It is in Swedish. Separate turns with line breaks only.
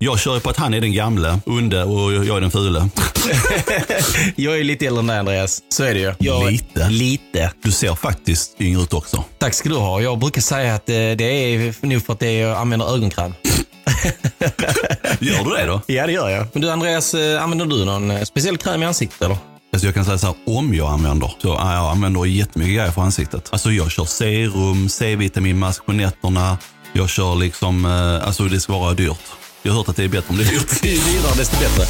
Jag kör ju på att han är den gamle, onde och jag är den fule.
Jag är lite äldre än dig Andreas. Så är det ju. Jag,
Lite.
Lite.
Du ser faktiskt yngre ut också.
Tack ska du ha. Jag brukar säga att eh, det är nog för att det är, jag använder ögonkräm.
Gör du det då?
Ja, det gör jag. Men du Andreas, eh, använder du någon eh, speciell kräm i ansiktet eller?
Alltså jag kan säga så här, om jag använder, så ja, jag använder jättemycket grejer för ansiktet. Alltså jag kör serum, C-vitaminmask på nätterna. Jag kör liksom, eh, alltså det ska vara dyrt. Jag har hört att det är bättre om det är dyrt.
Ju dyrare desto bättre.